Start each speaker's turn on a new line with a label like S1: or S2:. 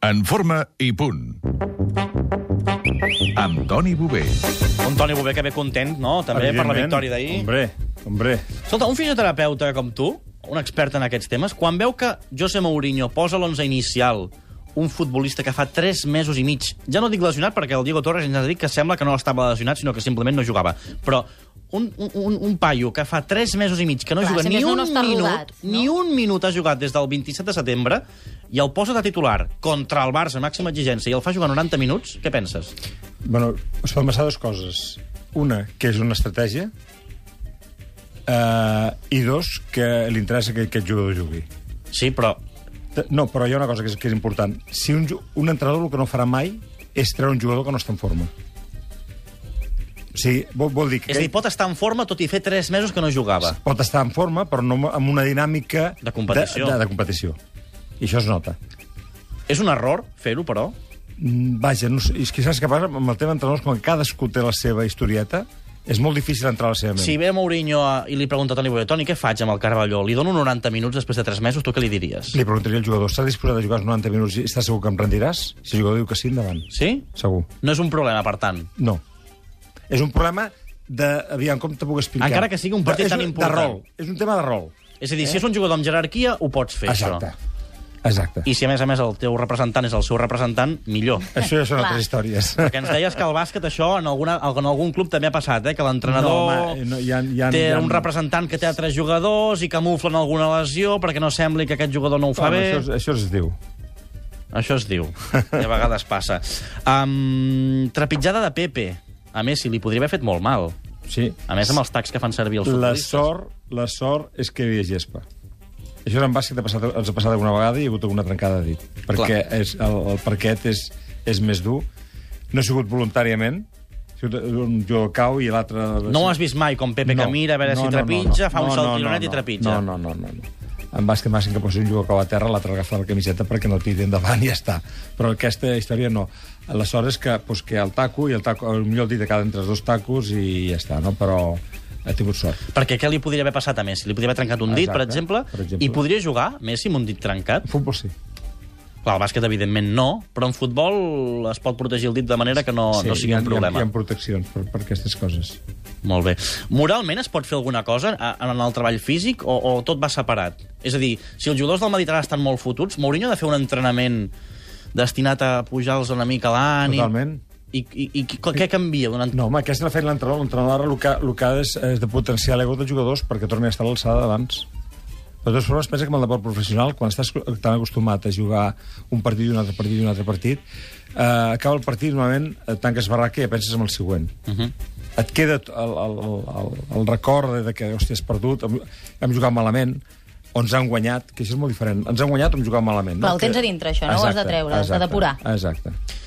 S1: En forma i punt. Amb Toni Bové.
S2: Un Toni Bové que ve content, no?, també, per la
S3: Evidentment.
S2: victòria d'ahir.
S3: Hombre, hombre.
S2: Escolta, un fisioterapeuta com tu, un expert en aquests temes, quan veu que José Mourinho posa l'11 inicial un futbolista que fa 3 mesos i mig, ja no dic lesionat perquè el Diego Torres ens ha dit que sembla que no estava lesionat, sinó que simplement no jugava, però un, un, un, un paio que fa 3 mesos i mig que no
S4: Clar,
S2: juga
S4: si
S2: ni
S4: més no,
S2: un
S4: no està
S2: minut,
S4: rodat, no?
S2: ni un minut ha jugat des del 27 de setembre, i el posa de titular contra el Barça, màxima exigència, i el fa jugar 90 minuts, què penses?
S3: Bueno, es poden passar dues coses. Una, que és una estratègia, eh, i dos, que li interessa que aquest jugador jugui.
S2: Sí, però
S3: T- No, però hi ha una cosa que és, que és important. Si un, ju- un entrenador el que no farà mai és treure un jugador que no està en forma. O sigui, vol, vol dir que
S2: És a dir, pot estar en forma tot i fer 3 mesos que no jugava.
S3: pot estar en forma, però no amb una dinàmica...
S2: De competició.
S3: De, de, de competició. I això es nota.
S2: És un error fer-ho, però.
S3: Mm, Vaja, no, sé, és que saps què passa? Amb el tema d'entrenadors, quan cadascú té la seva historieta, és molt difícil entrar a la seva ment.
S2: Si ve Mourinho a- i li pregunta a Toni Boyer, Toni, què faig amb el Carvalló? Li dono 90 minuts després de 3 mesos, tu què li diries?
S3: Li preguntaria al jugador, estàs disposat a jugar els 90 minuts i estàs segur que em rendiràs? Si el jugador diu que sí, endavant.
S2: Sí?
S3: Segur.
S2: No és un problema, per tant.
S3: No. És un problema de... Aviam, com t'ho puc explicar?
S2: Encara que sigui un partit
S3: de, és
S2: tan
S3: un-
S2: important.
S3: De rol. És un tema de rol.
S2: És a dir, si és un jugador amb jerarquia, ho pots fer,
S3: Eh? Exacte.
S2: això.
S3: Exacte.
S2: I si, a més a més, el teu representant és el seu representant, millor.
S3: Això ja són
S4: Clar.
S3: altres històries.
S2: Perquè ens deies que al bàsquet això en, alguna, en algun club també ha passat, eh? que
S3: No,
S2: l'entrenador
S3: home, no, hi ha- hi ha-
S2: té
S3: hi ha-
S2: un representant que té a tres jugadors i camuflen alguna lesió perquè no sembli que aquest jugador no ho fa
S3: Home,
S2: bé.
S3: Això, es- això es diu.
S2: Això es diu, i a vegades passa. Um, trepitjada de Pepe. A més, si li podria haver fet molt mal.
S3: Sí.
S2: A més, amb els tacs que fan servir els
S3: La
S2: futbolistes.
S3: sort, la sort és que hi havia gespa. Això en bàsquet ha passat, ens ha passat alguna vegada i hi ha hagut alguna trencada de dit. Perquè és, el, el parquet és, és més dur. No ha sigut voluntàriament. Ha sigut un jugador cau i l'altre...
S2: No ho has vist mai, com Pepe no. que mira a veure no, si trepitja, no, no. fa un salt tironet i trepitja.
S3: No, no, no, no. no. En bàsquet màxim que posi un jugador cau a terra, l'altre agafa la camiseta perquè no el tiri endavant i ja està. Però aquesta història no. La sort és que, doncs, que el taco i el taco... Potser el dit de cada entre els dos tacos i ja està, no? Però ha tingut sort.
S2: Perquè què li podria haver passat a Messi? Li podria haver trencat un dit,
S3: Exacte,
S2: per, exemple,
S3: per exemple.
S2: i podria jugar Messi amb un dit trencat?
S3: En futbol sí.
S2: Clar, al bàsquet, evidentment, no, però en futbol es pot protegir el dit de manera que Oh, no, no sigui
S3: hi ha,
S2: un problema.
S3: Hi ha, hi ha proteccions per, per aquestes coses.
S2: Molt bé. Moralment es pot fer alguna cosa a- en el treball físic o, o tot va separat? És a dir, si els jugadors del Mediterrani estan molt fotuts, Mourinho ha de fer un entrenament destinat a pujar-los una mica l'ànim...
S3: Totalment.
S2: I, i, i qui- què canvia? Donant...
S3: No, home, aquesta l'ha fet l'entrenador. L'entrenador ara el que, el que ha és, és de potenciar l'ego dels jugadors perquè torni a estar a l'alçada d'abans. De totes formes, pensa que amb el deport professional, quan estàs tan acostumat a jugar un partit i un altre partit i un altre partit, eh, acaba el partit, normalment eh, tanques barraca i ja penses en el següent. Uh -huh.
S4: Mhm.
S3: Et queda t- el, el, el, el, el record de- de que, hòstia, has perdut, hem, hem jugat malament, o ens han guanyat, que això és molt diferent. Ens han guanyat o hem jugat malament.
S4: Clar,
S3: no?
S4: ho tens
S3: Que-
S4: a dintre, això, no? Ho has de treure, has de depurar.
S3: Exacte.